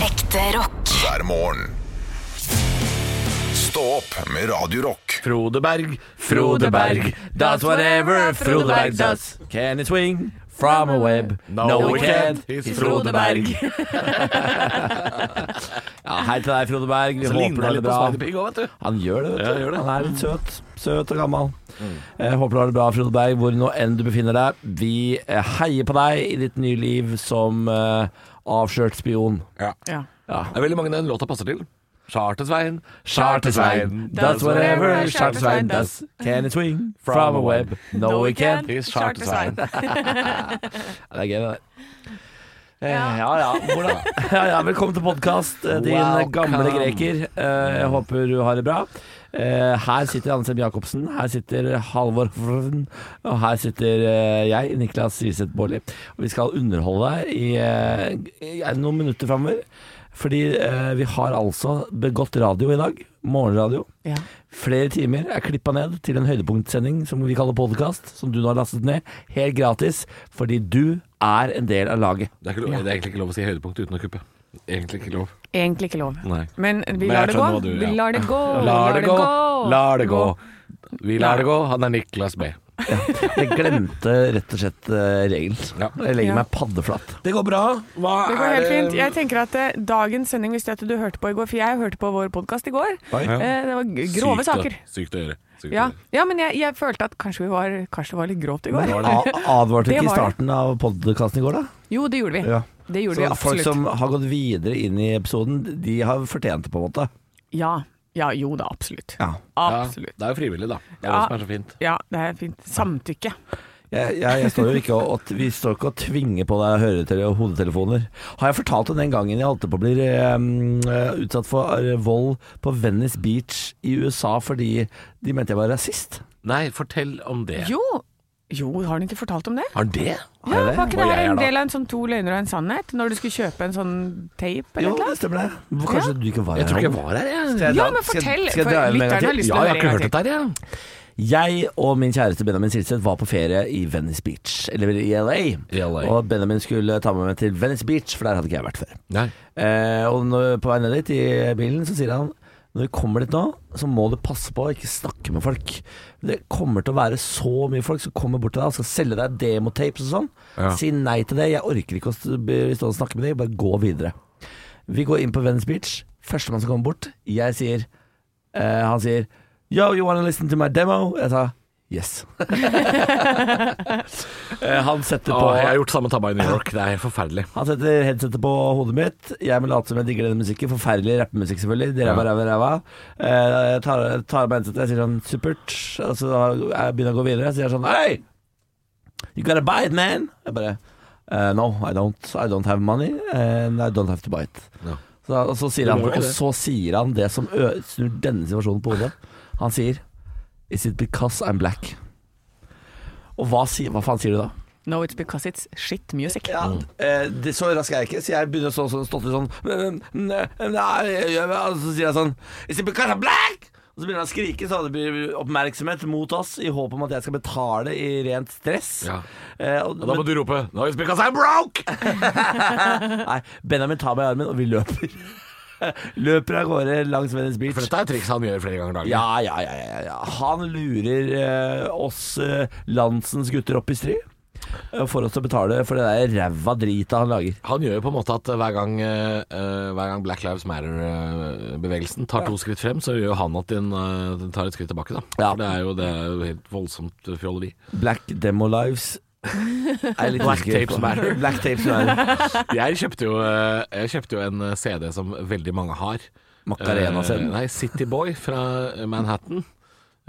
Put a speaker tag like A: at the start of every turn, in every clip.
A: Ekte rock.
B: hver morgen. Stå opp med Radio Rock.
C: Frode Berg, Frode Berg, that's whatever Frode Berg does. Can he swing from a web? No, he can't. He's Frode Berg. ja, hei til deg, Frode Berg. Vi
D: Så
C: håper
D: ligner
C: du
D: han
C: har det
D: litt på
C: bra.
D: Spider Pig òg, vet du.
C: Han gjør det, vet du.
D: Ja, gjør det. Mm.
C: Han er litt søt. Søt og gammel. Jeg håper du har det bra, Frode Berg, hvor nå enn du befinner deg. Vi eh, heier på deg i ditt nye liv som eh, avslørt spion.
E: Ja.
C: Ja.
D: Det er veldig mange den låta passer til. Charter-Svein,
C: Chartersvein does whatever Chartersvein does. Can it swing from a web? No, he can't.
D: He's Charter-Svein.
C: Ja, det er gøy, det der. Eh, Ja ja, hvordan? ja, ja velkommen til podkast, din
D: Welcome.
C: gamle greker. Eh, Jeg håper du har det bra. Eh, Her sitter Anne Sem Jacobsen, her sitter Halvor Frøvn, og her sitter eh, jeg, Niklas Wiseth Baarli. Og vi skal underholde deg i, eh, i noen minutter framover. Fordi eh, vi har altså begått radio i dag. Morgenradio.
E: Ja.
C: Flere timer er klippa ned til en høydepunktsending som vi kaller podkast, som du nå har lastet ned, helt gratis, fordi du er en del av laget.
D: Det er, ikke lov, det er egentlig ikke lov å si høydepunkt uten å kuppe. Egentlig ikke lov.
E: Egentlig ikke lov.
D: Nei.
E: Men vi
D: Men jeg
E: lar det gå.
D: skjønner hva du- ja.
E: Vi lar det gå. Vi
D: Lar det gå, lar det gå. Vi lar det gå. Han er Niklas B.
C: Jeg glemte rett og slett eh, regelen.
D: Ja.
C: Jeg legger
E: Ja.
C: meg paddeflat.
D: Det går bra. Hva
E: Det går helt fint. Jeg tenker at eh, dagens sending visste jeg at du hørte på i går, for jeg hørte på vår podkast i går. Eh, Det var g- grove saker.
D: Sykt å gjøre. Sykt
E: Ja,
D: å gjøre.
E: ja men jeg, jeg følte at kanskje, vi var, kanskje det var litt grovt i går.
C: A- Advarte du
E: Det
C: ikke i
E: var det.
C: starten av podkasten i går, da?
E: Jo, det gjorde vi.
C: Ja.
E: Det gjorde
C: Så
E: vi
C: folk
E: absolutt.
C: som har gått videre inn i episoden, de har fortjent det, på en måte.
E: Ja. ja, jo da, absolutt.
C: Ja.
D: Ja,
E: Absolutt.
D: det er jo frivillig, da. Det er
E: Ja.
D: det som er så fint.
E: Ja, det er fint. Samtykke.
C: Jeg, jeg, jeg står jo ikke og, og, vi står ikke og tvinger på deg høretele og hodetelefoner. Har jeg fortalt om den gangen jeg holdt på å bli eh, eh, utsatt for eh, vold på Venice Beach i USA fordi de mente jeg var rasist?
D: Nei, fortell om det.
E: Jo. jo, har du ikke fortalt om det?
D: Har det?
E: Ja, Var ikke det
D: Var
E: her
D: jeg
E: en
D: da?
E: del av en sånn to løgner og en sannhet? Når du skulle kjøpe en sånn tape eller
C: Jo,
E: noe?
C: det stemmer det. Kanskje du ikke var
D: Jeg tror ikke jeg
C: Ronny?
D: var her, jeg.
C: Skal jeg
E: Ja,
C: dra-
E: men
C: skal-
E: fortell,
C: skal jeg
E: for
C: dra den en gang
E: lytteren har
C: til?
E: lyst til
D: Ja,
E: å høre
D: jeg har ikke
E: en
D: hørt
E: gang til.
D: dette her, jeg.
C: Jeg og min kjæreste Benjamin Silseth var på ferie i Venice Beach, eller i LA.
D: I LA.
C: Og Benjamin skulle ta med meg til Venice Beach, for der hadde ikke jeg vært før.
D: Nei.
C: Eh, og når, på vei ned dit i bilen så sier han når vi kommer dit nå, så må du passe på å ikke snakke med folk. Det kommer til å være så mye folk som kommer bort til deg og skal selge deg demotapes og sånn.
D: Ja.
C: Si nei til det. Jeg orker ikke å st- bli stående og snakke med deg. Bare gå videre. Vi går inn på Venice Beach. Førstemann som kommer bort. Jeg sier eh, Han sier Yo, you wanna listen to my demo? Jeg sa yes. eh, han setter på
D: Åh, jeg har gjort samme tabba i New York. Det er helt forferdelig.
C: han setter headsetet på hodet mitt. Jeg må late som jeg digger denne musikken. Forferdelig rappemusikk, selvfølgelig. Det ræva,
D: Ja.
C: ræva, ræva. Eh, Jeg tar, tar av meg headsetet jeg sier sånn supert. Og så jeg begynner jeg å gå videre. Jeg sier sånn Hei! You gotta buy it, man! Jeg bare «Eh, No, I don't. I don't have money. And I don't have to buy it.
D: Ja.
C: Så, og, så sier
D: Du
C: han,
D: må jo
C: og
D: det.
C: så sier han det som ø snur denne situasjonen på hodet. Han sier Is it because I'm black? Og hva, si, hva faen sier du da?
E: No, it's because it's shit music.
C: Ja,
D: Mm.
C: eh, det, så rask er jeg ikke, så jeg begynner å stå sånn stotre sånn «Men, men, men, nei, jeg gjør det», Og så sier jeg sånn Is it because I'm black? Og så begynner han å skrike, så det blir oppmerksomhet mot oss i håp om at jeg skal betale i rent stress.
D: Ja.
C: Eh, og,
D: Da må
C: men,
D: du rope No, it's because I'm broke!
C: nei, Benjamin tar meg i armen, og vi løper. løper av gårde langs Venice Beach.
D: For dette er et triks han gjør flere ganger daglig.
C: Ja, ja, ja, ja, ja. Han lurer eh, oss eh, landsens gutter opp i stry. eh, For oss til å betale for det der ræva drita han lager.
D: Han gjør jo på en måte at eh, hver gang, eh, eh, hver gang Black Lives Matter-bevegelsen tar to skritt frem, så gjør han at den, eh, den tar et skritt tilbake, da.
C: Ja.
D: For Det er jo det er jo helt voldsomt fjolleri.
C: Black Demo Lives Jeg er litt
D: Black
C: usikker
D: Tapes
C: på.
D: Matter.
C: Black Tapes Matter.
D: Jeg kjøpte jo, eh, jeg kjøpte jo en eh, CD som veldig mange har.
C: Macarena
D: Eh,
C: selv.
D: Nei, City Boy fra eh, Manhattan.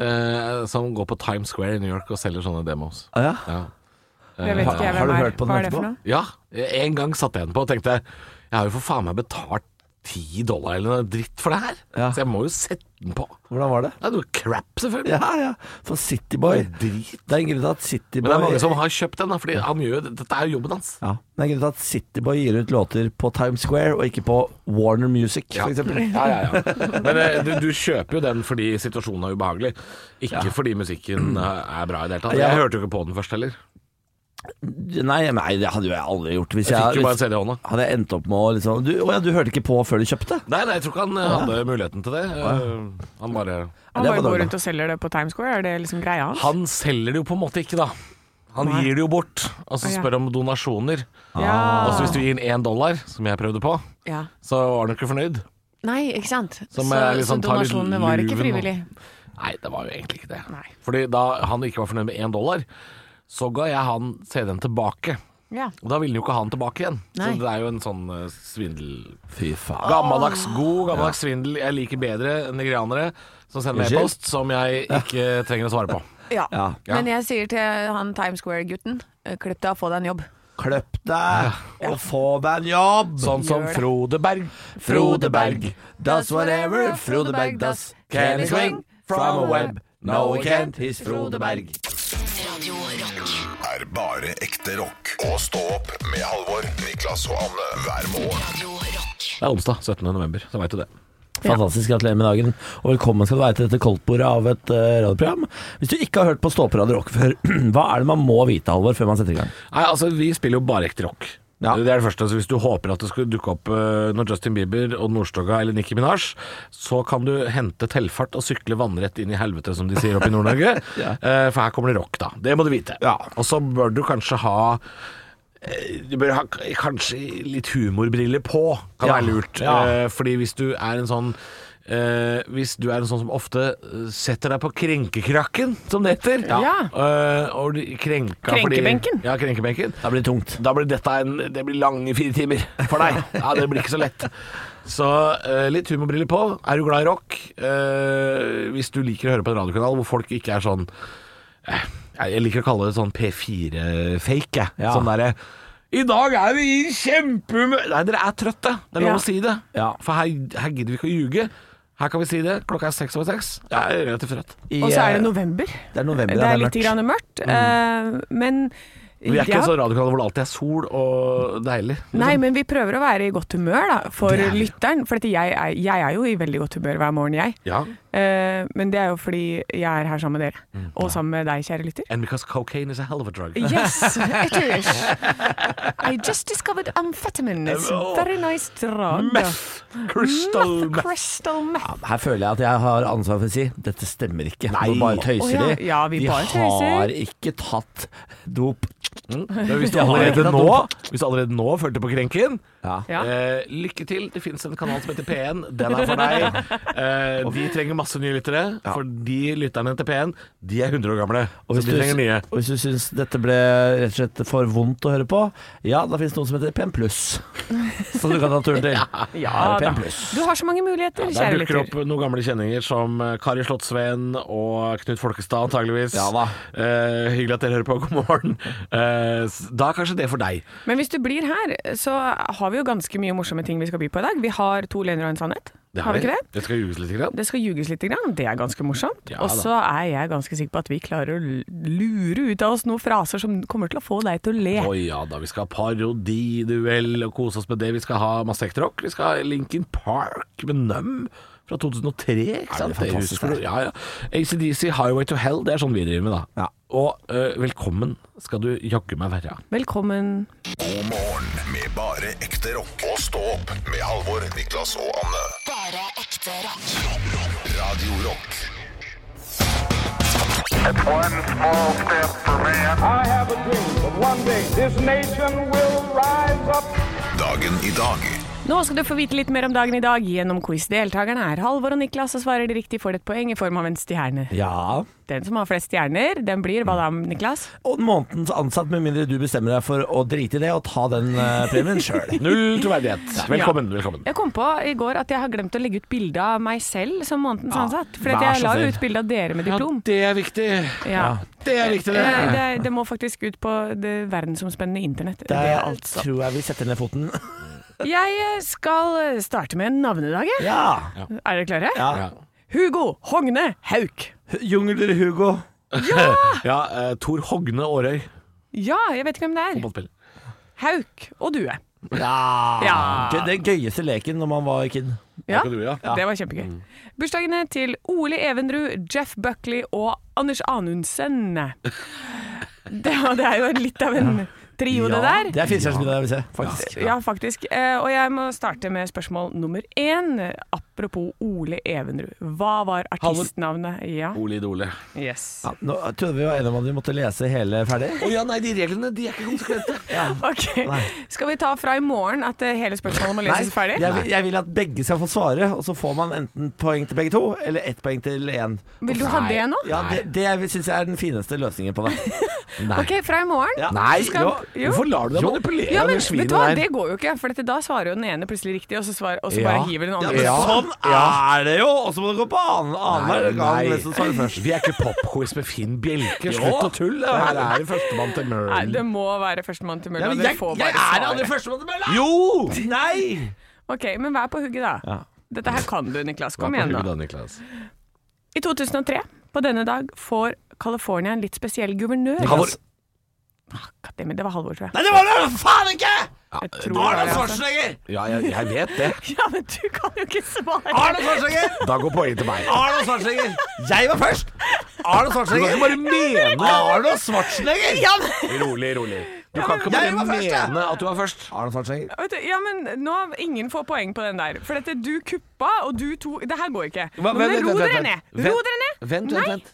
D: eh, som går på Times Square i New York og selger sånne demos.
C: Ah, ja.
D: Ja.
E: Jeg vet
C: Har-
E: ikke jeg
C: har
E: hvem
C: du
E: er.
C: hørt på den
E: Hva er det
C: etterpå?
E: for noe?
D: Ja, en gang satte jeg den på og tenkte Jeg har jo for faen meg betalt 10 dollar eller noe dritt for det her
C: Ja.
D: Så jeg må jo sette den på Det
C: Hvordan var det?
D: er noe crap selvfølgelig
C: Ja, ja. For Cityboy
D: Drit.
C: Det er en grunn til at Cityboy
D: Men det er mange som har kjøpt den da Fordi han gjør, dette er jo jobben hans
C: ja, det er en grunn til at Cityboy gir ut låter på Times Square og ikke på Warner Music,
D: Ja.
C: for eksempel.
D: ja, ja, ja. Men eh, du, du kjøper jo den fordi situasjonen er ubehagelig Ikke fordi musikken eh, er bra i det hele tatt
C: Ja.
D: Jeg hørte jo ikke på den først heller
C: Nei, nei, det hadde jo jeg aldri gjort. Hvis
D: Jeg
C: jeg,
D: fikk jo bare en
C: hvis-
D: CD i hånda.
C: hadde jeg endt opp med å liksom du, Å ja, du hørte ikke på før du kjøpte?
D: Nei, nei, jeg tror ikke han eh, hadde muligheten til det. Eh, Han bare
C: Det var
E: Han bare går
C: dårlig.
E: rundt og selger det på Times Square, er det liksom greia hans?
D: Han selger det jo på en måte ikke, da. Han
E: Nei.
D: gir det jo bort, og så
E: Å, ja.
D: spør om donasjoner. Og så
E: Ja.
D: Ah. Altså, hvis du gir inn én dollar, som jeg prøvde på,
E: ja.
D: så var han jo ikke fornøyd.
E: Nei, ikke sant?
D: Som
E: så,
D: er litt
E: så
D: sånn, tar litt
E: donasjonene var ikke
D: luven og-
E: frivillig.
D: Nei, det var jo egentlig ikke det.
E: Nei.
D: Fordi da han ikke var fornøyd med én dollar, så ga jeg han CD-en tilbake.
E: Ja.
D: Og da ville jo ikke ha den tilbake igjen.
E: Nei.
D: Så det er jo en sånn eh, svindel...
C: Fy faen.
D: Gammeldags god, gammeldags svindel. Jeg liker bedre nigerianere som sender meg
C: Unnskyld?
D: e-post som jeg ikke trenger å svare på.
E: Ja.
C: Ja.
E: Men jeg sier til han Times Square-gutten, eh, klipp deg og få deg en jobb.
C: Kløpp deg og få deg en jobb.
D: Sånn som
E: Gjør det.
D: Frode Berg.
C: Frode Berg does whatever Frode Berg does. Can he swing from a web? No, he can't. He's Frode Berg.
A: Radio Rock.
B: Er bare ekte rock. Og stå opp med Halvor, Niklas og Anne hver morgen.
A: Radio Rock.
D: Det er onsdag 17. november, så veit du det.
C: Fantastisk, gratulerer med dagen. Og velkommen skal du være til dette koldtbordet av et eh, radioprogram. Hvis du ikke har hørt på Ståperadio Rock før, hva er det man må vite, Halvor, før man setter i gang?
D: Nei, altså, vi spiller jo bare ekte rock.
C: Ja.
D: Det er det første. Altså, hvis du håper at det skulle dukke opp eh, når Justin Bieber og Nordstoga eller Nicki Minaj, så kan du hente tilfart og sykle vannrett inn i helvete, som de sier oppe i Nord-Norge. Eh, for her kommer det rock, da. Det må du vite. Og så bør du kanskje ha eh, du bør ha k- kanskje litt humorbriller på, kan
C: Ja.
D: være lurt.
C: Ja.
D: Eh, Fordi hvis du er en sånn eh, Hvis du er en sånn som ofte eh, setter deg på krenkekrakken, som det heter,
E: Ja.
D: eh, og du krenker ja, fordi-
E: Krenkebenken.
D: Ja, krenkebenken.
C: Det blir tungt.
D: Da blir dette en Det blir lange fire timer for deg. Ja, Det blir ikke så lett. Så eh, litt humorbriller på. Er du glad i rock? eh, hvis du liker å høre på en radiokanal hvor folk ikke er sånn eh, Jeg liker å kalle det sånn P4-fake. jeg.
C: Ja.
D: Sånn derre I dag er vi i kjempehumør Nei, dere er trøtte. Det er lov
E: Ja.
D: å si det.
C: Ja.
D: For her, her gidder vi ikke å ljuge. Her kan vi si det. Klokka er seks over seks. Jeg er relativt trøtt.
C: I,
E: Og så er det
C: eh,
E: november.
C: det er november,
E: Det
C: ja,
E: er
C: det er
E: litt
C: mørkt.
E: grann mørkt, eh, men
D: Vi er ikke
E: Ja.
D: en sånn radiokanal hvor det alltid er sol og deilig.
E: Nei, men vi prøver å være i godt humør da, for lytteren. For at jeg, er- jeg er jo i veldig godt humør hver morgen, jeg.
D: Ja.
E: Eh, men det er jo fordi jeg er her sammen med dere, og sammen med deg, kjære lytter.
D: And because cocaine is a hell of a drug.
E: Yes, it is. I just discovered amphetamine. It's a very nice drug.
D: Meth! Crystal
E: Meth,
D: meth.
E: Crystal meth.
C: Her føler jeg at jeg har ansvar for å si dette stemmer ikke. Nå bare tøyser
E: Å ja.
C: de.
E: Ja, vi
C: de
E: bare tøyser.
C: har ikke tatt dop.
D: Men Hvis, du
C: Jeg har ikke
D: allerede
C: tatt
D: nå,
C: opp.
D: hvis du allerede nå følte på krenken,
C: Ja.
E: Ja.
D: eh, lykke til. Det fins en kanal som heter P1. Den er for deg. Eh, de trenger masse nye lyttere, for de lytterne til P1 De er 100 år gamle.
C: Og
D: Så
C: hvis,
D: de trenger
C: du,
D: nye.
C: og hvis du syns dette ble rett og slett for vondt å høre på, ja, da finnes det noe som heter PN+. Som du kan ta turen til.
E: Ja
C: Det er
E: da.
C: PN+.
E: Du har så mange muligheter,
D: Der
E: kjære
D: dukker det
E: lytter.
D: opp noen gamle kjenninger som eh, Kari Slottsveen og Knut Folkestad, antageligvis.
C: Ja da.
D: Eh, hyggelig at dere hører på. God morgen. Eh, s- da er kanskje det for deg.
E: Men hvis du blir her, så har vi jo ganske mye morsomme ting vi skal by på i dag. Vi har to lener og en sannhet. Har vi ikke det?
D: Det skal juges litt. Grann.
E: Det skal ljuges litt, grann. det er ganske morsomt.
D: Ja da.
E: og så er jeg ganske sikker på at vi klarer å l- lure ut av oss noen fraser som kommer til å få deg til å le.
D: Å ja da, vi skal ha parodiduell og kose oss med det. Vi skal ha masse ekterock. Vi skal ha Linkin Park med Num fra 2003. Ikke sant?
C: det er fantastisk,
D: husker du. Ja, ja. ACDC Highway to Hell, det er sånn vi driver med, da.
C: Ja.
D: Og eh, velkommen skal du jaggu meg være.
E: Velkommen.
B: God morgen med bare ekte rock. Og stå opp med Halvor, Niklas og Anne.
A: Bare ekte rock.
B: Radio Rock
F: It's one small step for man.
G: I have a dream that one day this nation will rise up.
B: Dagen i dag
E: Nå skal du få vite litt mer om dagen i dag gjennom quiz. Deltakerne er Halvor og Niklas, og svarer de riktig får de et poeng i form av en stjerne.
C: Ja.
E: Den som har flest stjerner, den blir hva da, Niklas?
C: Og månedens ansatt, med mindre du bestemmer deg for å drite i det og ta den eh, premien sjøl.
D: Null troverdighet. Velkommen. velkommen
E: Jeg kom på i går at jeg har glemt å legge ut bilde av meg selv som månedens ansatt. For
C: vær
E: at jeg
C: så
E: la
C: snill.
E: jo ut bilde av dere med diplom.
D: det er viktig.
E: Ja.
D: Det er viktig, det.
E: Eh, Det, det må faktisk ut på det verdensomspennende internett. Det,
C: Der
E: altså.
C: tror jeg vi setter ned foten.
E: Jeg eh, skal eh, starte med en navnedag. jeg.
C: Ja.
E: Er dere klare?
C: ja.
D: Ja,
E: Hugo Hogne Hauk.
C: Jungler-Hugo.
D: ja eh, Tor Hogne Aarøy.
E: Ja, jeg vet ikke hvem det er.
D: Fotballspiller.
E: Hauk og due.
C: Ja.
E: Ja.
C: Det, det gøyeste leken når man var kid.
E: Ja,
D: Ikke du, ja?
E: det var kjempegøy.
C: Mm.
E: Bursdagene til Ole Evenrud, Jeff Buckley og Anders Anundsen. Det, og det er jo litt av en trio, det der.
C: Det er firestjernersmiddag jeg vil se, faktisk.
E: Ja, faktisk. Eh, Og jeg må starte med spørsmål nummer én. Apropos Ole Evenrud. Hva var artistnavnet? Ja.
D: Ole Idole. Å
E: Yes.
C: Ja, nå trodde vi var enige om at vi måtte lese hele ferdig.
D: ja, nei, de reglene de er ikke konsekvente.
E: Ok. Skal vi ta fra i morgen at eh, hele spørsmålet må
C: Nei,
E: leses ferdig?
C: jeg, vil- jeg vil at begge skal få svare, og så får man enten poeng til begge to, eller ett poeng til én.
E: Vil du ha det nå?
C: Ja, det, det syns jeg er den fineste løsningen på det.
E: Ok, fra i morgen.
C: Ja.
D: Nei,
E: Skal-
D: jo.
E: jo.
D: hvorfor lar du deg manipulere
E: Ja,
D: av
E: men
D: det
E: vet
D: svinet
E: du hva,
D: der?
E: det går jo ikke, for dette, da svarer jo den ene plutselig riktig, og så, svarer, og så
D: Ja.
E: bare hiver den
C: Ja,
E: andre.
C: men
D: Ja.
C: sånn
D: Ja.
C: er det jo! Og så må det gå på annen- annenhver gang. hvem som svarer først.
D: Vi er ikke popquiz med Finn Bjelke. Slutt å tulle. Det her er førstemann til
E: Nei,
D: mølen.
E: det må være førstemann til mølla.
C: Ja, men
E: Dere
C: jeg,
E: får
C: jeg
E: bare
C: er
E: svare.
C: aldri førstemann til mølla!
D: Jo!
C: Nei!
E: Ok, men vær på hugget, da.
C: Ja.
E: Dette her kan du, Niklas. Kom
D: Hva på
E: igjen,
D: huet
E: nå.
D: da, Niklas?
E: I 2003, på denne dag, får California en litt spesiell guvernør.
C: Halvor.
E: Fuck, det- men Det var Halvor, tror jeg.
C: Nei, det var det faen ikke!
E: jeg tror
C: Arne
E: det, altså.
C: Schwarzenegger!
D: Ja, jeg, jeg vet det.
E: Ja, men du kan jo ikke svare!
C: Arne Schwarzenegger!
D: Da går poenget til meg.
C: Arne Schwarzenegger! Jeg var først! Arne Schwarzenegger!
D: Du kan ikke bare mene
C: Arne Schwarzenegger!
E: Ja, men,
D: Rolig, rolig. Du kan ikke
C: jeg
D: bare
C: var først, jeg.
D: mene at du var først.
C: Arne Schwarzenegger.
E: vet du, ja, men nå Ingen får poeng på den der. For dette du kuppa, og du to Det her går ikke. Nå
D: Hva-
E: må
D: vent,
E: du ro
D: vent, vent,
E: dere
D: vent.
E: ned!
D: Vent,
E: Ro dere ned!
D: Vent,
E: Nei.
D: vent, vent.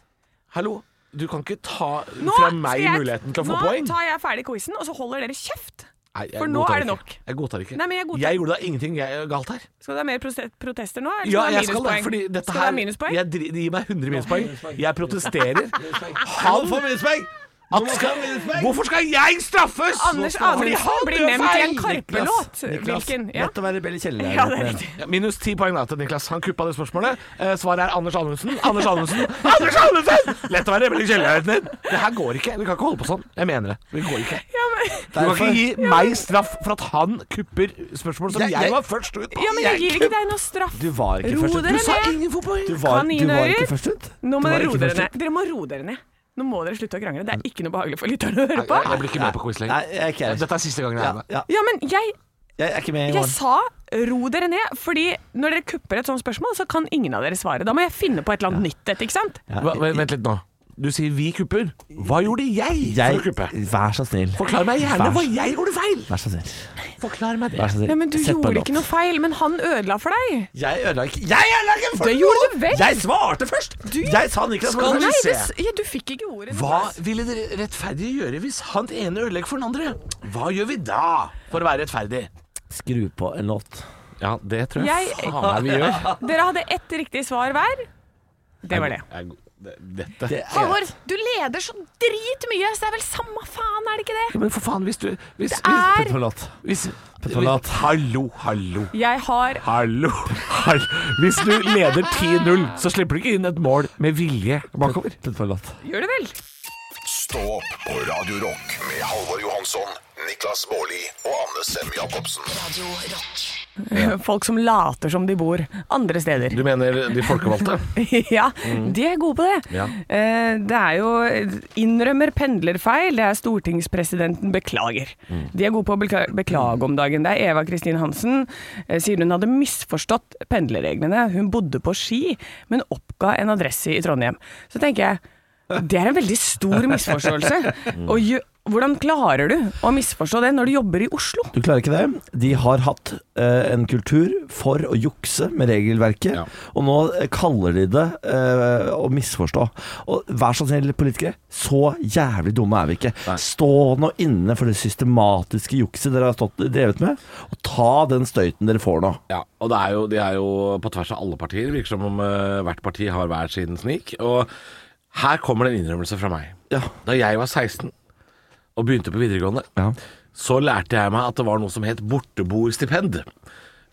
D: Hallo. Du kan ikke ta
E: Nå
D: fra
E: skal
D: meg
E: jeg-
D: muligheten til å få
E: nå
D: poeng.
E: Nå tar jeg ferdig quizen, og så holder dere kjeft.
D: Nei, jeg
E: for nå
D: godtar
E: er det
D: ikke.
E: nok.
D: Jeg godtar ikke.
E: Nei, men jeg godtar-
D: gjorde da ingenting jeg, galt her.
E: Skal det ha mer prote- protester nå? Eller
D: Ja,
E: skal det ha
D: jeg skal det,
E: minuspoeng?
D: fordi dette
E: skal det
D: her
E: ha minuspoeng?
D: jeg dri- Det gir meg 100 minuspoeng. Jeg protesterer.
C: Han
D: Han
C: får minuspoeng!
D: at skal, Hvorfor skal jeg straffes?!
E: Anders
D: Fordi han
E: Anundsen blir
D: gjør
E: nevnt i en
D: feil.
E: Karpe-låt. Hvilken? Ja.
C: Lett å være Belle Kjellere.
E: ja, det er riktig.
D: Ja, Minus ti poeng da til Niklas. Han kuppa det spørsmålet. Eh, svaret er Anders Anundsen. Anders Anundsen! Anders Anundsen! Lett å være rebell i kjellerhøyden din. Det her går ikke. Vi kan ikke holde på sånn. Jeg mener det. Det går ikke.
E: Ja, men,
D: Du kan ikke gi meg straff for at han kupper spørsmål som
C: Jeg-
D: jeg,
C: jeg-
D: var først ut på.
E: ja, men jeg gir ikke deg noe straff.
C: Du var ikke
E: Ro
C: først ut.
E: dere
C: Du sa
E: ned.
D: Ingen får poeng.
C: Du var, du var
E: Kaninører.
C: ikke først ut.
E: Nå
C: Du
E: må
C: var
E: dere ro
C: ikke
E: dere
C: først ut.
E: ned. Dere må roe dere ned. Nå må dere slutte å krangle. Det er ikke noe behagelig for lytterne å høre
D: Jeg,
E: på.
D: jeg blir ikke med på quiz
C: Nei,
D: lenger.
C: jeg er ikke her.
D: Dette er siste gangen jeg
C: Ja,
D: er med.
C: ja.
E: Ja, men jeg,
C: Jeg er ikke med i
E: jeg
C: morgen.
E: sa ro dere ned, fordi når dere kupper et sånt spørsmål, så kan ingen av dere svare. Da må jeg finne på et eller annet nytt et, ikke sant?
D: Hva, vent vent litt nå. Du sier vi kupper. Hva gjorde jeg, for å kuppe?
C: Jeg, vær så snill.
D: Forklar meg gjerne
C: Vær-
D: hva jeg gjorde feil!
C: Vær så snill.
D: Forklar meg
C: Vær så snill.
E: Ja, men du
C: Sett på en
E: gjorde
C: låt.
E: ikke noe feil, men han ødela for deg.
C: Jeg ødela ikke Jeg ødela ikke for
E: Det gjorde du vel.
C: Jeg svarte først! Jeg sa Niklas
D: Skal
C: var
D: vi
E: Nei,
C: først.
E: det,
D: se.
E: ja, du fikk ikke ordet.
D: Hva ville det rettferdige gjøre hvis han ene ødelegger for den andre? Hva gjør vi da for å være rettferdig?
C: Skru på en låt.
D: Ja, det tror
E: jeg Jeg- faen
D: meg vi gjør.
E: Dere hadde ett riktig svar hver. Det var det.
D: Dette
C: Det er-
A: Halvor, du leder så dritmye, så det er vel samme faen, er det ikke det?
D: Men for faen, hvis du hvis,
C: Putt
E: Er
C: på en låt.
D: hvis, sånn
C: Petronat.
D: Hallo, hallo,
E: Jeg har
D: hallo, hallo. Hvis du leder 10-0, så slipper du ikke inn et mål med vilje bakover.
C: Putt på en låt.
E: Gjør det vel?
B: Stå opp på Radio Rock med Halvor Johansson, Niklas Baarli og Anne Sem Jacobsen.
A: Radio Rock.
E: Folk som later som de bor andre steder.
D: Du mener de folkevalgte?
E: ja, de er gode på det.
D: Mm. Ja.
E: Eh, Det er jo innrømmer pendlerfeil, det er stortingspresidenten beklager.
D: Mm.
E: De er gode på å bekla- beklage om dagen. Det er Eva Kristin Hansen. eh, Sier hun hadde misforstått pendlerreglene. Hun bodde på Ski, men oppga en adresse i Trondheim. Så tenker jeg, det er en veldig stor
D: Mm.
E: misforståelse. Og gjø- hvordan klarer du å misforstå det når du jobber i Oslo?
C: Du klarer ikke det. De har hatt eh, en kultur for å jukse med regelverket,
D: Ja.
C: og nå eh, kaller de det eh, å misforstå. Og vær så snill, politikere, så jævlig dumme er vi ikke. Stå nå inne for det systematiske jukset dere har stått, drevet med, og ta den støyten dere får nå.
D: Ja, og det er jo, de er jo på tvers av alle partier. Virker som om eh, hvert parti har hver sin snik. Og her kommer det en innrømmelse fra meg.
C: Ja.
D: Da jeg var 16 og begynte på videregående,
C: Ja.
D: så lærte jeg meg at det var noe som het borteboerstipend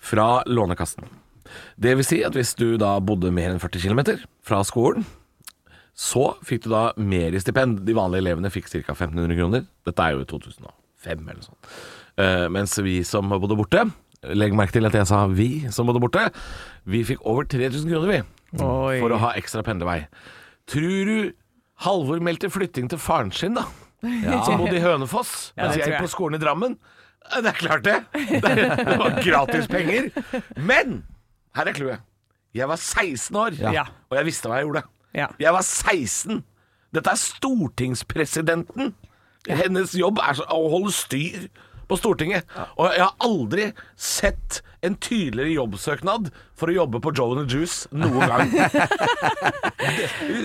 D: fra Lånekassen. Det vil si at hvis du da bodde mer enn 40 km fra skolen, så fikk du da mer i stipend. De vanlige elevene fikk ca. 1500 kroner. Dette er jo i 2005 eller sånn. Eh, mens vi som bodde borte Legg merke til at jeg sa vi som bodde borte. Vi fikk over 3000 kroner, vi.
E: Oi.
D: For å ha ekstra pendlervei. Tror du Halvor meldte flytting til faren sin, da? Som bodde i Hønefoss, mens
E: det
D: jeg
E: tror
D: gikk
E: jeg.
D: på skolen i Drammen. Eh, Det er klart, det! Det er- det var gratis penger. Men her er clouet. Jeg var 16 år,
E: Ja.
D: og jeg visste hva jeg gjorde.
E: Ja.
D: Jeg var 16! Dette er stortingspresidenten Hennes jobb er så- å holde styr på Stortinget. Og jeg har aldri sett en tydeligere jobbsøknad for å jobbe på Joe and the Juice noen gang.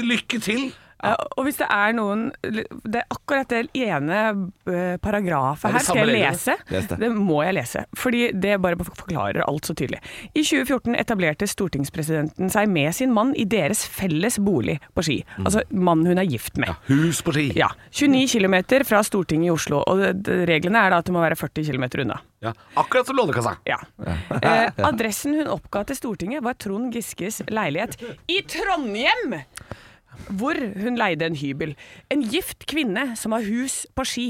D: Lykke til!
E: Ja, Eh, og hvis det er noen Det er akkurat det ene eh, paragrafet
D: er
E: her
D: de
E: skal
D: samme
E: jeg
D: reglene.
E: lese.
C: Les det.
E: må jeg lese. Fordi det bare forklarer alt så tydelig. I 2014 etablerte stortingspresidenten seg med sin mann i deres felles bolig på Ski. Altså mannen hun er gift med.
D: Hus på ski.
E: Ja. 29 km fra Stortinget i Oslo. Og det- det- reglene er da at det må være 40 km unna.
D: Ja, Akkurat som Lånekassa.
E: Ja. Eh, adressen hun oppga til Stortinget var Trond Giskes leilighet i Trondheim, hvor hun leide en hybel. En gift kvinne som har hus på Ski,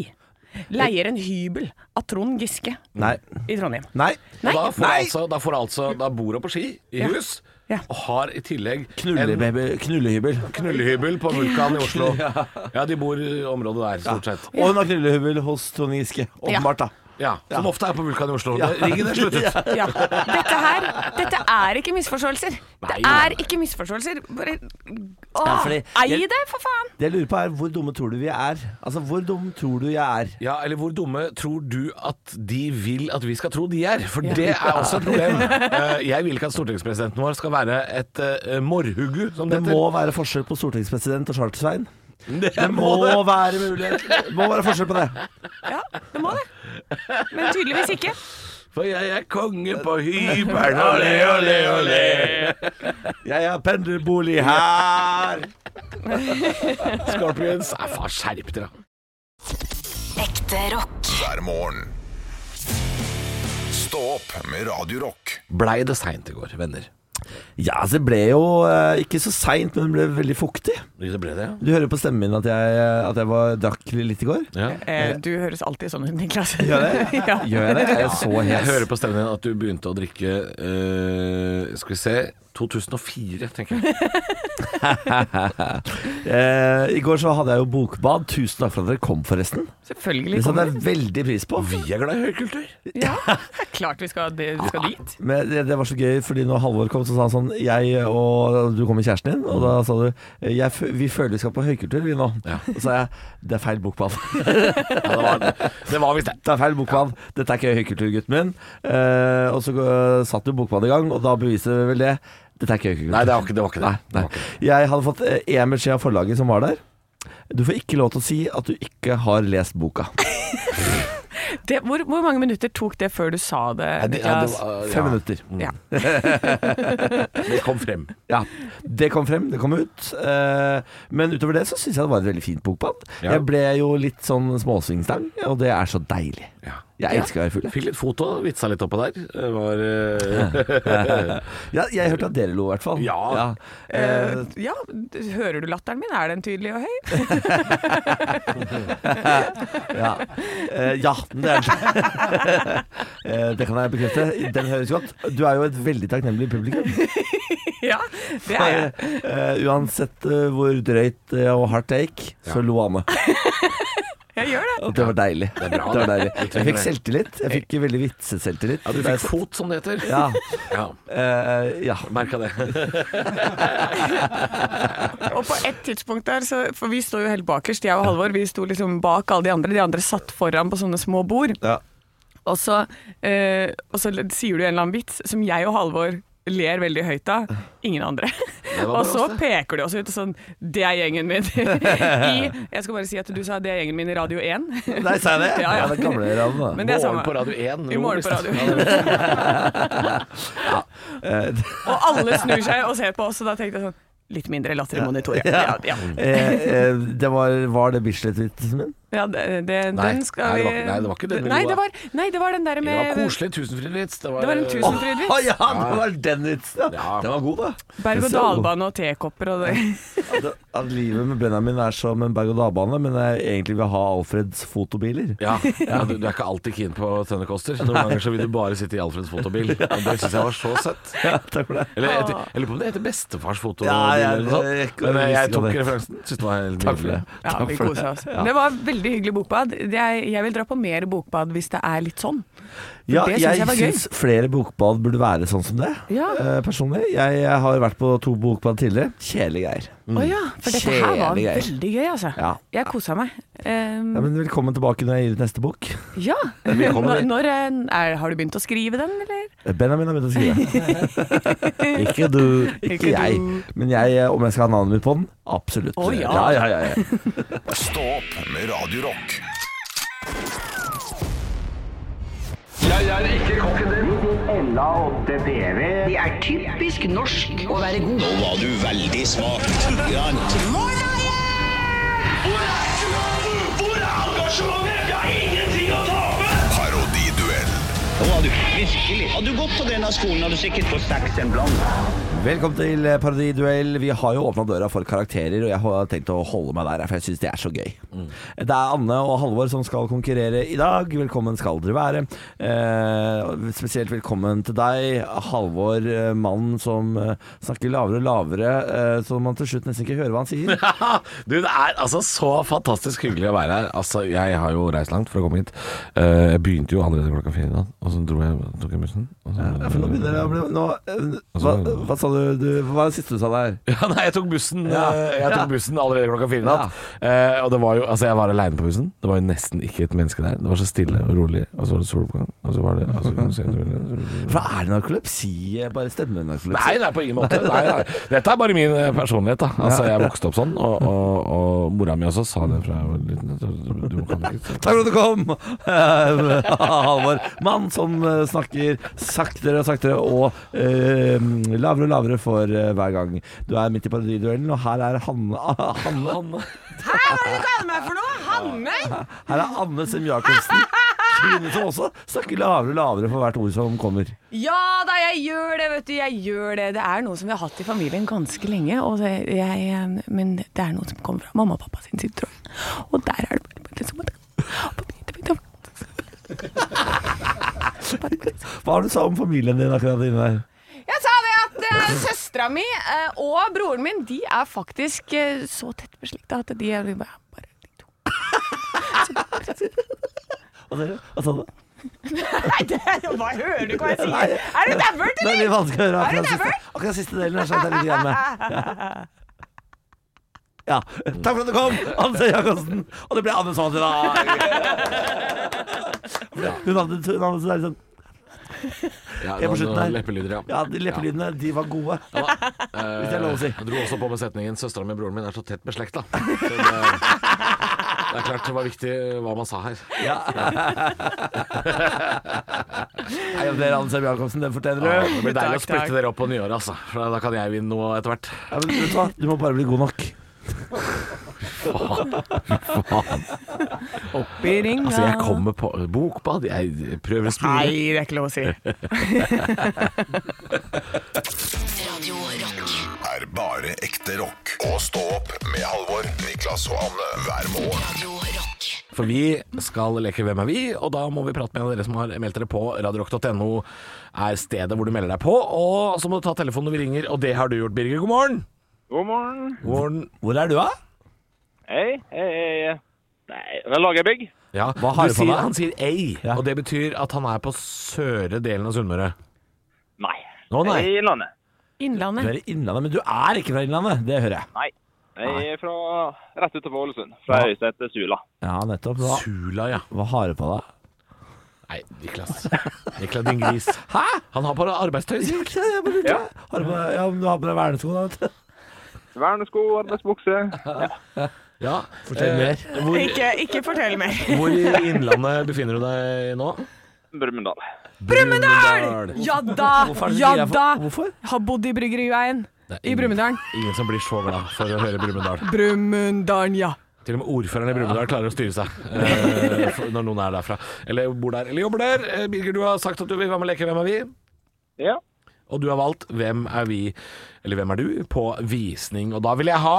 E: leier en hybel av Trond Giske
C: Nei.
E: i Trondheim.
C: Nei.
D: Og da får,
C: Nei.
D: altså, da får altså Da bor hun på ski, i hus,
E: Ja.
D: og har i tillegg en
C: Knullebaby. Knullehybel.
D: knullehybel på Vulkan i Oslo. Ja, de bor i området der, stort sett.
C: Og hun har knullehybel hos Trond Giske. Åpenbart, da.
D: Ja, Som ofte er på Vulkan i Oslo. Ringen er sluttet.
E: Ja.
A: Dette her dette er ikke misforståelser. Det
D: Nei, nei.
A: er ikke misforståelser. Bare
C: Ja,
A: Åh,
C: fordi-
A: Ei det, for faen!
C: Det jeg lurer på er hvor dumme tror du vi er? Altså, hvor dum tror du jeg er?
D: Ja, eller hvor dumme tror du at de vil at vi skal tro de er? For det er også et problem. Eh, Jeg vil ikke at stortingspresidenten vår skal være et eh, morrhugu, som det
C: Det må
D: heter.
C: være forskjell på stortingspresident og Charter-Svein. Det må være mulighet Det må være forskjell på det.
E: ja, det må det. Men tydeligvis ikke.
D: For jeg er konge på hybelen, olé, olé, olé.
C: Jeg har pendlerbolig her!
D: Scorpions. Nei, faen, skjerp dere.
H: Ekte rock.
B: hver morgen. Stå opp med Radio Rock.
D: Blei det seint i går, venner?
C: Ja, altså, det ble jo eh, ikke så seint, men det ble veldig fuktig.
D: Det ble det,
C: Du hører på stemmen min at jeg, eh, at jeg var, drakk litt i går.
D: ja.
E: Eh, du høres alltid sånn ut, Niklas.
C: Gjør
E: det? ja.
C: Gjør jeg det? Jeg er så
D: Jeg hører
C: hes.
D: på stemmen din at du begynte å drikke eh, Skal vi se 2004, tenker jeg.
C: Eh, I går så hadde jeg jo bokbad. Tusen takk for at dere kom, forresten.
E: Selvfølgelig.
C: Det sånn
E: kommer
C: satte jeg veldig pris på.
D: Vi er glad i høykultur.
E: Ja, det er klart vi skal, det, vi skal dit.
C: Men det, det var så gøy, fordi når Halvor kom, så sa han sånn Jeg og du kom med kjæresten din, og da sa du jeg, fø- Vi føler vi skal på høykultur, vi nå. Og så sa jeg det er feil bokbad.
D: Ja, det var, det var visst det.
C: Det er feil bokbad. Dette er ikke høykultur, gutten min. Eh, og så eh, satt jo bokbadet i gang, og da beviser vi vel det. Dette er ikke høykultur.
D: Nei, det var ikke det. Var ikke det.
C: Nei, nei. Jeg hadde fått eh, én beskjed av forlaget som var der. Du får ikke lov til å si at du ikke har lest boka.
E: Det, hvor, hvor mange minutter tok det før du sa det?
D: Nei, det, ja, det,
E: Niklas?
D: var- ja, Mm.
C: Fem minutter.
E: Ja.
D: det kom frem.
C: Ja, Det kom frem, det kom ut. Eh, men utover det så syns jeg det var et veldig fint bokbad.
D: Ja.
C: Jeg ble jo litt sånn småsvingstang, og det er så deilig.
D: Ja.
C: Jeg elsker å være full. jeg.
D: Fikk litt foto, vitsa litt oppå der. Det var eh,
C: Ja, jeg hørte at dere lo, i hvert fall.
D: Ja.
C: Eh,
E: Eh, ja, d- hører du latteren min? Er den tydelig og høy?
C: ja. Eh, ja, det er det. Eh, det kan jeg bekrefte. Den høres godt. Du er jo et veldig takknemlig publikum.
E: ja, det er jeg.
C: Eh, uansett eh, hvor drøyt eh, og hardt jeg gikk, så lo Anne.
E: Jeg gjør det.
C: Og det var deilig.
D: Det er bra,
C: var
D: det.
C: deilig. Jeg fikk selvtillit. Jeg fikk veldig vitseselvtillit.
D: Ja, du fikk fot, som det heter.
C: Ja.
D: Ja,
C: Eh, ja.
D: Merka det.
E: Og på et tidspunkt der, så, for vi står jo helt bakerst, jeg og Halvor, vi sto liksom bak alle de andre. De andre satt foran på sånne små bord.
C: Ja.
E: Og så, eh, og så sier du en eller annen vits som jeg og Halvor ler veldig høyt av. Ingen andre.
D: var
E: Og
D: bra,
E: så
D: det.
E: peker du også ut og sånn Det er gjengen min. I, jeg skal bare si at du sa det er gjengen min i Radio 1.
C: Nei, sa jeg det?
E: Ja, ja.
C: den gamle radioen, da.
E: Men det er
D: Morgen
E: samme.
D: på Radio 1.
E: I morgen på
D: ro, hvis-
E: Radio 1. Og alle snur seg og ser på oss, og da tenkte jeg sånn Litt mindre latter i monitoret. Ja, ja.
C: Eh, eh, det var, var det Bislett-vitsen min?
E: ja det, det,
D: Nei,
E: den skal
D: nei, det
E: vi
D: var ikke- nei, det var ikke den vi
E: Nei,
D: lo
E: det
D: av.
E: var, nei, det var den derre
D: Det
E: med
D: var koselig. Tusenfryd-vits.
E: Det var en tusenfryd.
C: Å ja, det var den vitsen, ja.
D: Ja.
C: Den var god, da.
E: Berg-og-dal-bane og tekopper og det.
C: At, at livet med Benjamin er som en berg-og-dal-bane, men jeg egentlig vil ha Alfreds fotobiler.
D: Ja, ja du, du er ikke alltid keen på tønnekoster. Noen ganger så vil du bare sitte i Alfreds fotobil. Og det syns jeg var så søtt.
C: Ja, takk for det.
D: Eller jeg, jeg lurer på om det heter bestefars fotobil
C: Ja, ja,
D: eller noe
C: jeg-
D: sånt.
C: jeg-
D: Men eh, jeg
C: jeg-
D: tok referansen. Syns det var helt
C: Takk for det.
D: nydelig.
E: Ja, vi koser oss. Det var veldig hyggelig bokbad. Jeg, jeg vil dra på mer bokbad hvis det er litt sånn.
C: Ja,
E: det syns jeg
C: jeg
E: var gøy.
C: syns flere bokbad burde være sånn som det,
E: Ja.
C: eh, personlig. Jeg, jeg har vært på to bokbad tidligere. Kjedelige greier.
D: Mm.
E: Å ja, for dette her var
C: Kjedelige greier.
E: veldig gøy, altså.
C: Ja.
E: Jeg kosa meg. Um,
C: Ja, men velkommen tilbake når jeg gir ut neste bok.
E: ja. Når, når eh, er, har du begynt å skrive den, eller?
C: Benjamin har begynt å skrive. ikke du, ikke
E: Ikke
C: jeg.
E: du.
C: Men jeg, eh, om jeg skal ha navnet mitt på den? Absolutt.
E: Å, ja.
C: Ja, ja, ja, ja.
B: Stå opp med Radio Rock.
I: Nå var du veldig smak.
B: Parodiduell.
I: Nå var du virkelig. Hadde du gått på denne skolen, hadde du sikkert fått seks en blant.
C: Velkommen til eh, Parodiduell. Vi har jo åpna døra for karakterer, og jeg har tenkt å holde meg der, for jeg syns det er så gøy. Det er Anne og Halvor som skal konkurrere i dag. Velkommen skal dere være. Eh, spesielt velkommen til deg, Halvor, eh, mannen som eh, snakker lavere og lavere, eh, så man til slutt nesten ikke hører hva han sier.
D: du, det er altså så fantastisk hyggelig å være her. Altså, jeg har jo reist langt for å komme hit. Eh, jeg begynte jo allerede klokka fire i dag, og så dro jeg, tok jeg bussen. og så-
C: Ja, for nå begynner det å bli nå, eh, hva, hva sa du, du Hva var det siste du sa der?
D: Ja, nei, jeg tok bussen
C: Ja.
D: eh, Jeg tok
C: Ja.
D: bussen allerede klokka fire i natt Eh, Og det var jo, altså jeg var alene på bussen Det var jo nesten ikke et menneske der Det var så stille og rolig Og så var det soloppgang Og så var det altså, kan du se-
C: Hva er det narkolepsi? Bare stemmenarkolepsi?
D: Nei, nei, på ingen måte nei, nei. Dette er bare min eh, personlighet da Altså jeg vokste opp sånn Og, og, og mora mi også sa det fra jeg var liten at Du kan ikke
C: Takk for at du kom! Eh, Halvor. Mann som eh, snakker saktere og saktere og eh, lavere og lavere for eh, hver gang. Du er midt i parodiduellen, og her er Hanne, Hanne,
E: Hæ, hva er det du kaller meg for noe? Hanne?
C: Her er Anne Sem Jacobsen. Kvinne som også snakker lavere og lavere for hvert ord som kommer.
E: Ja da, jeg gjør det, vet du. Jeg gjør det. Det er noe som vi har hatt i familien ganske lenge, og det, jeg, eh, men det er noe som kommer fra mamma og pappa sin side, tror jeg. Og der er det bare liksom
C: Hva har du sa om familien din akkurat inne der?
E: Jeg sa det at eh, søstera mi eh, og broren min De er faktisk eh, så tett beslekta at de er vi bare, bare de to.
C: Hva dere? Hva sa du?
E: Nei, det, hva hører du ikke hva jeg
C: Nei.
E: sier? Er du dævert,
C: Det er
E: eller?
C: litt vanskelig å høre
E: Er det
C: akkurat siste, akkurat siste delen. Jeg skjønte jeg litt grann med. Ja. ja. Takk for at du kom, Anse Jacobsen. Og det ble Anne sånn i dag. Hun hadde, hun hadde så der sånn
D: ja,
C: Jeg er på slutten
D: da-
C: her.
D: Leppelyder, ja,
C: Ja, de leppelydene, de var gode. Hvis det er lov å si.
D: Jeg dro også på med setningen 'Søstera mi og broren min er så tett beslekta'. Så Det, det er klart det var viktig hva man sa her.
C: Nei, om dere Anse Jacobsen, den fortjener
D: Ja,
C: du.
D: det blir deilig å
E: Takk, takk.
D: splitte dere opp på nyåret, altså. For da kan jeg vinne noe etter hvert.
C: Ja, men vet du hva, du må bare bli god nok.
D: Altså, jeg kommer på bokbad, jeg prøver å
E: Nei,
D: spille.
E: det er ikke lov å si.
H: Radio Rock.
B: er bare ekte rock. Og stå opp med Halvor, Niklas og Anne hver morgen.
H: Radio Rock.
D: For vi skal leke Hvem er vi? Og da må vi prate med en av dere som har meldt dere på. Radiorock.no er stedet hvor du melder deg på. Og så må du ta telefonen når vi ringer, og det har du gjort, Birger. God morgen!
J: God morgen.
D: God morgen.
C: Hvor er du, da?
J: Hei, hei, hei. hei. Nei, det er Lagerbygg.
D: Ja,
C: Hva har
D: du
C: du på
D: sier,
C: deg?
D: han sier ei,
C: Ja.
D: og det betyr at han er på søre delen av Sunnmøre.
J: Nei.
D: Å, nei.
J: Jeg er i Innlandet.
C: Du
E: Innlandet.
C: er i Innlandet, men du er ikke fra Innlandet. Det hører jeg.
J: Jeg er fra rett utenfor Ålesund. Fra Øystein til Sula.
C: Ja, nettopp. Hva,
D: Sula, ja.
C: hva har du på deg?
D: Nei, Niklas. Niklas, din gris. Hæ? Han har bare arbeidstøy. sier han.
C: Jeg bare lurte. Har du på deg- Ja, men du har på deg vernesko, da. vet du.
J: Vernesko, arbeidsbukse.
D: Ja.
C: Fortell mer.
D: Hvor,
E: Ikke, ikke fortell mer.
D: hvor i Innlandet befinner du deg nå?
J: Brumunddal.
E: Brumunddal! Ja da!
C: Hvorfor er det
E: Ja
C: du sier
E: da!
C: for- Hvorfor?
E: Har bodd i bryggeriveien. I Brumunddal.
D: Ingen som blir så glad for å høre Brumunddal.
E: Brumunddal, ja.
D: Til og med ordføreren i Brumunddal klarer å styre seg eh, for- når noen er derfra. Eller bor der, eller jobber der. Eh, Birger, du har sagt at du vil være med og leke Hvem er vi?
J: Ja.
D: Og du har valgt Hvem er vi, eller hvem er du, på visning. Og da vil jeg ha,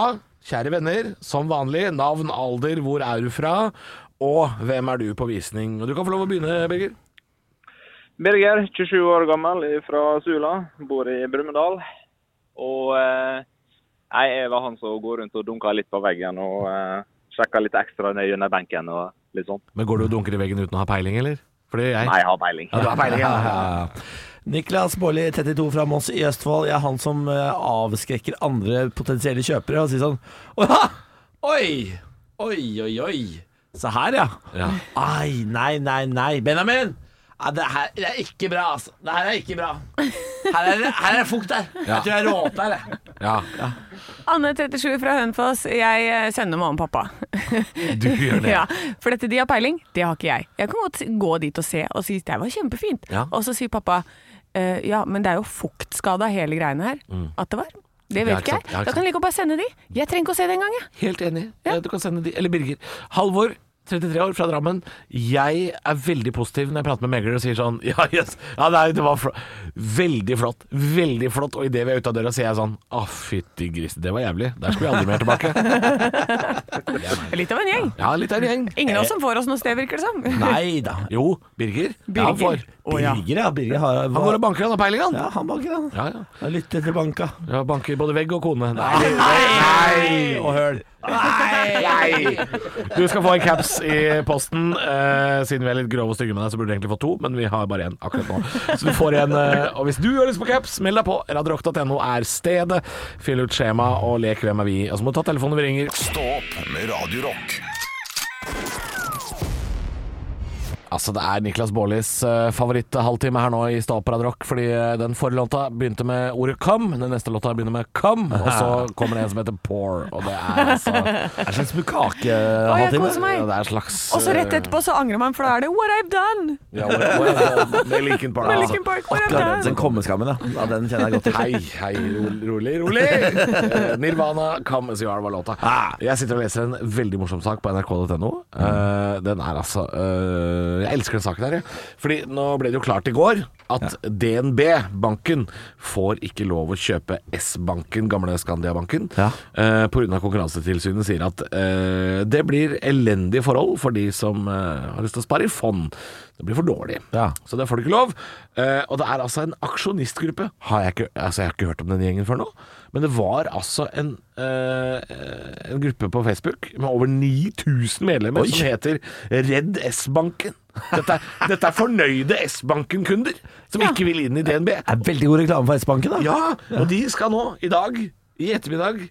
D: kjære venner, som vanlig, navn, alder, hvor er du fra, og hvem er du på visning. Og du kan få lov å begynne, Birger.
J: Birger, 27 år gammel, er fra Sula. Bor i Brumunddal. Og eh, jeg er vel han som går rundt og dunker litt på veggen og eh, sjekker litt ekstra ned gjennom benken og litt sånn.
D: Men går du og dunker i veggen uten å ha peiling, eller? For det gjør jeg.
J: Nei, jeg har peiling.
D: Ja, du har peiling, ja.
C: Ja, ja, ja. Niklas Baarli, 32 fra Moss i Østfold. Jeg er han som eh, avskrekker andre potensielle kjøpere og sier sånn «Å, ha! Oi! Oi, oi, oi. Se her, ja.
D: Ja.
C: Ai, nei, nei, nei. Benjamin! Ja, det her det er ikke bra, altså. Det her er ikke bra. Her er det, her er det fukt der.
D: Ja.
C: Jeg tror jeg råter, jeg.
D: Ja,
E: Anne 37 fra Hønefoss, jeg eh, sender mamma og pappa.
D: du gjør det.
E: Ja, for dette de har peiling, det har ikke jeg. Jeg kan godt gå dit og se og si det var kjempefint.
D: Ja.
E: Og så sier pappa «Eh, ja, men det er jo fuktskada hele greiene her. At det var. Det vet
D: Mm. Ja, ikke
E: ikke
D: sant.
E: jeg.
D: Ja, ikke
E: da kan jeg like godt bare sende de. Jeg trenger ikke å se det engang, jeg.
D: Helt enig. Eh, Du kan sende de, eller Birger. Halvor, 33 år, fra Drammen. Jeg er veldig positiv når jeg prater med megler og sier sånn Ja, yes. ja nei, det var fl veldig flott. Veldig flott. Og idet vi er ute av døra, sier jeg sånn Å, fytti gris, det var jævlig. Der skulle vi aldri mer tilbake.
E: Litt av en gjeng.
D: Ja, Eh, litt av en gjeng.
E: Ingen av oss som får oss noe sted, virker det som.
C: Nei da.
D: Jo, Birger. Ja, han får.
E: Å, ja.
C: Birger, ja. Birger har
D: Han går og banker, han har peiling, han.
C: Ja, han banker, han.
D: Ja, ja.
C: Han lytter til banka.
D: ja. Banker både vegg og kone. Nei.
C: Nei! Og høl.
D: Du skal få en caps i posten. Eh, siden vi er litt grove og stygge med deg, så burde du egentlig få to, men vi har bare én akkurat nå. Så du får en. Eh, og hvis du har lyst på caps, meld deg på. Radiorock.no er stedet. Fyll ut skjema og lek Hvem er vi? Og så må du ta telefonen vi ringer.
B: Stå opp med Radio Rock.
D: Altså, det er Niklas Baarlis eh, favoritthalvtime her nå i Stå opp Radiorock, fordi eh, den forrige låta begynte med ordet come, den neste låta begynner med come, og så kommer det en som heter pour, og det er altså
C: Det er en slags
E: Å, jeg
C: bukakehalvtime.
E: koser meg.
D: Det er en slags eh,
E: Og så rett etterpå så angrer man, for da er det what I've done.
D: Ja, what- what- med Linkin Park.
E: Med
D: altså.
E: Linkin Park, what I've
C: Akkurat
E: done.
C: den kommeskammen, ja. ja. Den kjenner jeg godt til.
D: Hei, hei, rolig, rolig. rolig. Eh, Nirvana, Come As You Are var låta.
C: Ah.
D: Jeg sitter og leser en veldig morsom sak på nrk.no. Eh,
C: Mm.
D: den er altså eh, Jeg elsker den saken her, jeg. Fordi nå ble det jo klart i går at DNB, banken, får ikke lov å kjøpe S-banken, gamle Skandia-banken,
C: Ja.
D: eh, pga. Konkurransetilsynet sier at eh, det blir elendige forhold for de som eh, har lyst til å spare i fond. Det blir for dårlig.
C: Ja.
D: Så det får du ikke lov. Eh, og det er altså en aksjonistgruppe. Har jeg, ikke, altså jeg har ikke hørt om den gjengen før nå, men det var altså en, eh, en gruppe på Facebook med over 9000 medlemmer som heter Redd S-banken. Dette, er- dette er fornøyde S-banken-kunder som ikke vil inn i DNB.
C: Det er veldig god reklame for S-banken, da.
D: Ja, og de skal nå, i dag, i ettermiddag,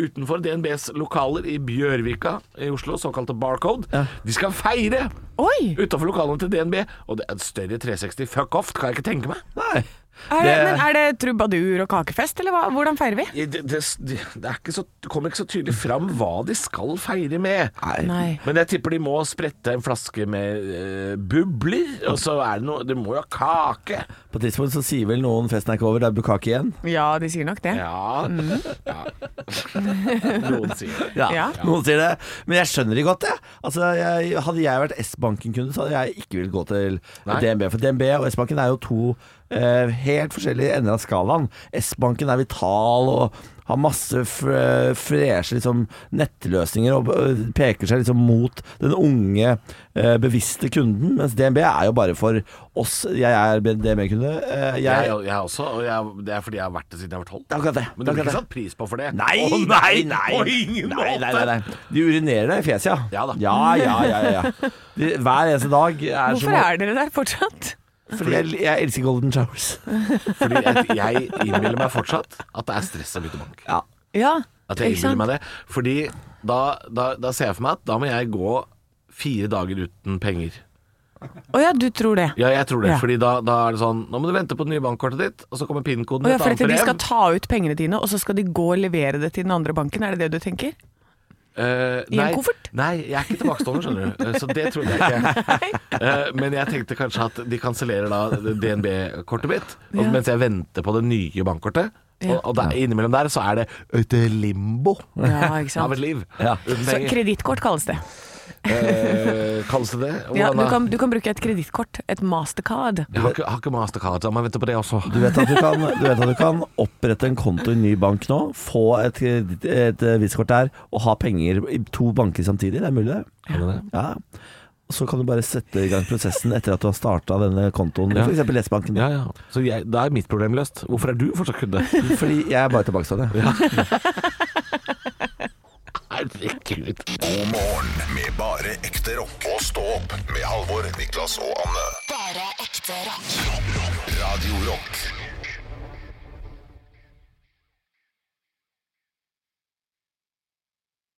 D: utenfor DNBs lokaler i Bjørvika i Oslo, såkalte Barcode, de skal feire
E: Oi!
D: Utenfor lokalene til DNB. Og det er et større 360 fuck off, kan jeg ikke tenke meg.
C: Nei.
E: Er det,
C: Det-
E: men er det trubadur og kakefest, eller hva? hvordan feirer vi?
D: Det, det, det, er ikke så, det kommer ikke så tydelig fram hva de skal feire med.
E: Nei.
D: Men jeg tipper de må sprette en flaske med eh, bubler, og så er det noe Det må jo ha kake.
C: På et tidspunkt så sier vel noen festen er ikke over, det er bukake igjen.
E: Ja, de sier nok det.
D: Ja. ja. Noen sier det.
E: Ja.
C: Noen sier det. Men jeg skjønner de godt, jeg. Altså, jeg hadde jeg vært S-banken-kunde, så hadde jeg ikke villet gå til
D: Nei.
C: DNB. For DNB og S-banken er jo to eh, helt forskjellige ender av skalaen. S-banken er vital og har masse fr freshe liksom, nettløsninger og eh, peker seg liksom mot den unge, eh, bevisste kunden. Mens DNB er jo bare for oss. Jeg er DNB-kunde. Eh,
D: Jeg,
C: jeg,
D: jeg, også, og jeg, det er fordi jeg har vært det siden jeg har vært tolv.
C: det er akkurat det.
D: Men
C: Det
D: du
C: er akkurat
D: blir ikke
C: det.
D: satt pris på for det?
C: Nei,
D: Å,
C: nei,
D: nei! På ingen
C: nei, nei,
D: måte!
C: nei, nei. De urinerer deg i fjeset, ja.
D: Ja da.
C: Ja, ja, ja, ja, ja. De, hver eneste dag er
E: Hvorfor er dere der fortsatt?
C: som Fordi jeg, jeg elsker Golden Showers.
D: Fordi at jeg innbiller meg fortsatt at det er stress å bytte bank.
C: Ja.
E: Ja,
D: At jeg
E: ikke sant?
D: innbiller meg det. Fordi da, da, da ser jeg for meg at da må jeg gå fire dager uten penger.
E: Å ja, du tror det.
D: Ja, jeg tror det.
E: Ja.
D: Fordi da, da er det sånn Nå må du vente på det nye bankkortet ditt, og så kommer PIN-koden
E: Å
D: i
E: ja,
D: et
E: for
D: annet
E: at de skal
D: brev.
E: ta ut pengene dine, og så skal de gå og levere det til den andre banken, er det det du tenker?
D: Eh,
E: i en
D: nei,
E: koffert.
D: nei, jeg er ikke tilbakestående, skjønner du. Eh, Så det trodde jeg ikke. Eh, men jeg tenkte kanskje at de kansellerer da DNB-kortet mitt, og,
E: Ja.
D: mens jeg venter på det nye bankkortet. Og, og der, innimellom der så er det et limbo
E: Ja, ikke
D: av et
E: sant.
D: liv.
C: Ja.
D: Uten
E: Så
D: penger.
E: kredittkort kalles det.
D: Eh, kalles det det?
E: Ja,
D: Hvordan
E: du,
D: da?
E: kan, du kan bruke et kredittkort, et mastercard.
D: Jeg har ikke, har ikke mastercard, så jeg må vente på det også.
C: Du vet, at du, kan, du vet at du kan opprette en konto i en ny bank nå, få et, kreditt- et visskort der og ha penger i to banker samtidig. Det er mulig, det. Ja. Og Så kan du bare sette i gang prosessen etter at du har starta denne kontoen,
D: Ja.
C: f.eks. S-banken.
D: Ja, ja. Så jeg, da er mitt problem løst. Hvorfor er du fortsatt kunde?
C: Fordi jeg er bare tilbakestående.
D: Herregud. Skriv litt.
B: God morgen med bare ekte rock. Og stå opp med Halvor, Niklas og Anne.
H: Bare ekte rock.
B: Radio Rock.